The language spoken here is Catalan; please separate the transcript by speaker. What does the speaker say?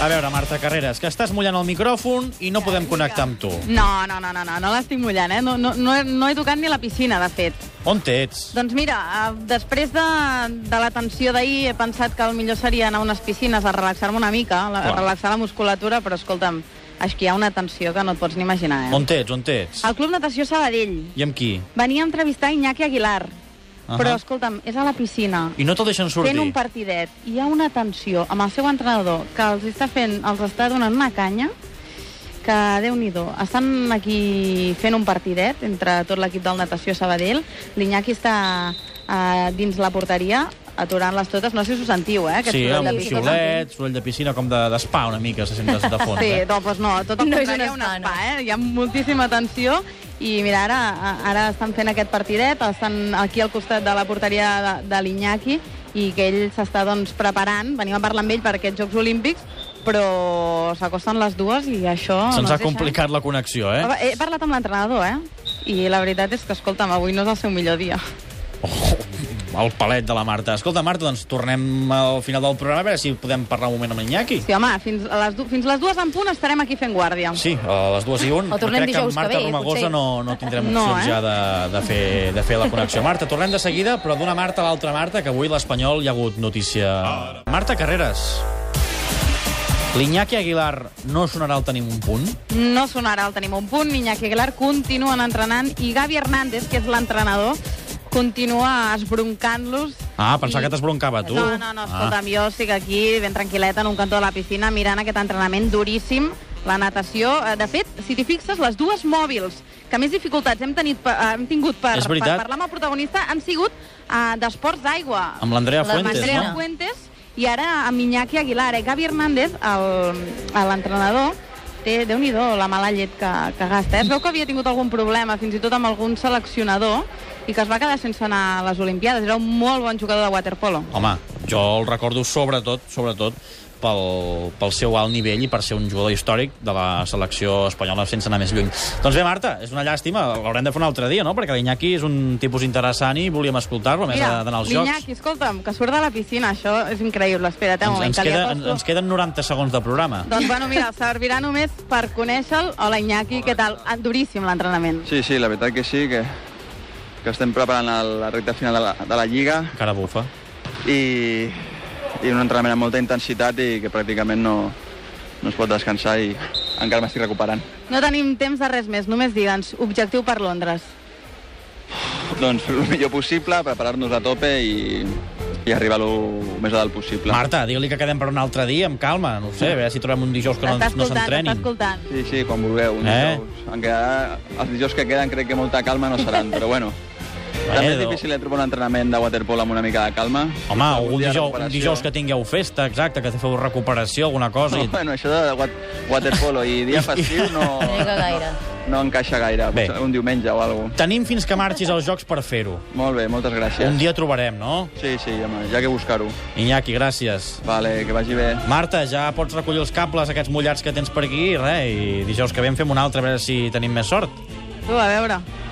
Speaker 1: A veure, Marta Carreras, que estàs mullant el micròfon i no podem connectar amb tu.
Speaker 2: No, no, no, no, no, no l'estic mullant, eh? No, no, no, he, no he tocat ni la piscina, de fet.
Speaker 1: On t'ets?
Speaker 2: Doncs mira, eh, després de, de la tensió d'ahir he pensat que el millor seria anar a unes piscines a relaxar-me una mica, la, a
Speaker 1: Clar.
Speaker 2: relaxar la musculatura, però escolta'm, aquí hi ha una tensió que no et pots ni imaginar, eh?
Speaker 1: On t'ets? On t'ets?
Speaker 2: El Club Natació Sabadell
Speaker 1: I amb qui?
Speaker 2: venia a entrevistar Iñaki Aguilar,
Speaker 1: Ahà.
Speaker 2: però escolta'm, és a la piscina.
Speaker 1: I no te'l deixen sortir?
Speaker 2: fent un partidet. Hi ha una tensió amb el seu entrenador que els està fent, els està donant una canya que, déu nhi estan aquí fent un partidet entre tot l'equip del Natació Sabadell. L'Iñaki està eh, dins la porteria aturant-les totes. No sé si ho sentiu, eh? aquest
Speaker 1: Sí,
Speaker 2: soroll
Speaker 1: amb
Speaker 2: de
Speaker 1: un
Speaker 2: piscina.
Speaker 1: xiulet, soroll de piscina, com de- d'espa una mica, se sent de, de fons.
Speaker 2: Sí,
Speaker 1: eh?
Speaker 2: no, doncs no, tot el
Speaker 3: No és
Speaker 2: contrari,
Speaker 3: un
Speaker 2: un
Speaker 3: spa,
Speaker 2: spa, eh? Hi ha moltíssima tensió i mira, ara, ara estan fent aquest partidet, estan aquí al costat de la porteria de, de l'Iñaki i que ell s'està doncs, preparant, venim a parlar amb ell per aquests Jocs Olímpics, però s'acosten les dues i això...
Speaker 1: Se'ns ha
Speaker 2: no es deixa. eh?
Speaker 1: complicat la connexió, eh?
Speaker 2: He parlat amb l'entrenador, eh? I la veritat és que, escolta'm, avui no és el seu millor dia.
Speaker 1: El palet de la Marta. Escolta, Marta, doncs tornem al final del programa a veure si podem parlar un moment amb l'Iñaki.
Speaker 2: Sí, home, fins a les, du- fins les dues en punt estarem aquí fent guàrdia.
Speaker 1: Sí, a les dues i un.
Speaker 3: O tornem
Speaker 1: Crec que
Speaker 3: dijous
Speaker 1: amb
Speaker 3: que
Speaker 1: Marta
Speaker 3: ve,
Speaker 1: Romagosa
Speaker 3: potser.
Speaker 1: no, no tindrem
Speaker 2: No,
Speaker 1: opcions
Speaker 2: eh?
Speaker 1: ja de, de, fer, de fer la connexió. Marta, tornem de seguida, però d'una Marta a l'altra Marta, que avui l'Espanyol hi ha hagut notícia. Marta Carreras. L'Iñaki Aguilar no sonarà al tenim un punt?
Speaker 2: No sonarà el tenim un punt. Iñaki Aguilar continuen entrenant i Gavi Hernández, que és l'entrenador, continua esbroncant-los.
Speaker 1: Ah, pensava
Speaker 2: I-
Speaker 1: que t'esbroncava, tu. Ah.
Speaker 2: No, no, no, escolta'm, jo estic aquí ben tranquil·leta en un cantó de la piscina mirant aquest entrenament duríssim, la natació. Eh, De fet, si t'hi fixes, les dues mòbils que més dificultats hem, tenit, per- hem tingut per,
Speaker 1: És
Speaker 2: per
Speaker 1: veritat.
Speaker 2: parlar amb el protagonista han sigut eh, d'esports d'aigua.
Speaker 1: Ah. Amb l'Andrea
Speaker 3: La
Speaker 1: Fuentes,
Speaker 3: Macarena.
Speaker 1: no?
Speaker 2: Fuentes i ara amb Iñaki Aguilar. Eh? Gavi Hernández, el- a l'entrenador, té, déu nhi la mala llet que, que gasta. Eh? Es veu que havia tingut algun problema, fins i tot amb algun seleccionador, i que es va quedar sense anar a les Olimpiades. Era un molt bon jugador de waterpolo.
Speaker 1: Home, jo el recordo sobretot, sobretot, pel, pel seu alt nivell i per ser un jugador històric de la selecció espanyola sense anar més lluny. Doncs bé, Marta, és una llàstima, l'haurem de fer un altre dia, no? Perquè l'Iñaki és un tipus interessant i volíem escoltar-lo, a més
Speaker 2: Mira,
Speaker 1: ha d'anar als jocs.
Speaker 2: l'Iñaki, escolta'm, que surt de la piscina, això és increïble. Espera't, eh,
Speaker 1: Ens,
Speaker 2: un moment,
Speaker 1: ens,
Speaker 2: que li
Speaker 1: queda, ens,
Speaker 2: acosto.
Speaker 1: ens queden 90 segons de programa.
Speaker 2: Doncs, bueno, mira, servirà només per conèixer-lo. Hola, Iñaki, què tal? Ah, Duríssim, l'entrenament.
Speaker 4: Sí, sí, la veritat que sí, que, que estem preparant el- la recta final de la, de la Lliga
Speaker 1: Cara bufa.
Speaker 4: i, i un entrenament amb molta intensitat i que pràcticament no, no es pot descansar i encara m'estic recuperant.
Speaker 2: No tenim temps de res més, només digue'ns, objectiu per Londres.
Speaker 4: Doncs fer el millor possible, preparar-nos a tope i, i arribar el més a dalt possible.
Speaker 1: Marta, digue-li que quedem per un altre dia, amb calma, no ho sé, a veure si trobem un dijous que no,
Speaker 2: T'està
Speaker 1: no
Speaker 2: escoltant, t'està
Speaker 1: s'entrenin.
Speaker 2: escoltant.
Speaker 4: Sí, sí, quan vulgueu. Un
Speaker 1: Eh?
Speaker 4: dijous. Encara els dijous que queden crec que molta calma no seran, però bueno. També és
Speaker 1: Bueno.
Speaker 4: difícil de trobar un entrenament de waterpolo amb una mica de calma.
Speaker 1: Home,
Speaker 4: Algun
Speaker 1: algun
Speaker 4: dia de
Speaker 1: dijous, un
Speaker 4: recuperació. eh?
Speaker 1: dijous que tingueu festa, exacte, que feu recuperació, alguna cosa, i
Speaker 4: Bueno, això de wat waterpolo i dia festiu no,
Speaker 3: No lliga gaire.
Speaker 4: no, no encaixa gaire.
Speaker 1: Bé.
Speaker 4: Potser Un diumenge o alguna
Speaker 1: Tenim fins que marxis als Jocs per fer-ho.
Speaker 4: Molt bé, moltes gràcies.
Speaker 1: Un dia trobarem, no?
Speaker 4: Sí, sí, home, ja que buscar-ho.
Speaker 1: Iñaki, gràcies.
Speaker 4: Vale, que vagi bé.
Speaker 1: Marta, ja pots recollir els cables aquests mullats que tens per aquí, i res, i dijous que ve en fem un altre, a veure si tenim més sort.
Speaker 2: Tu, a veure.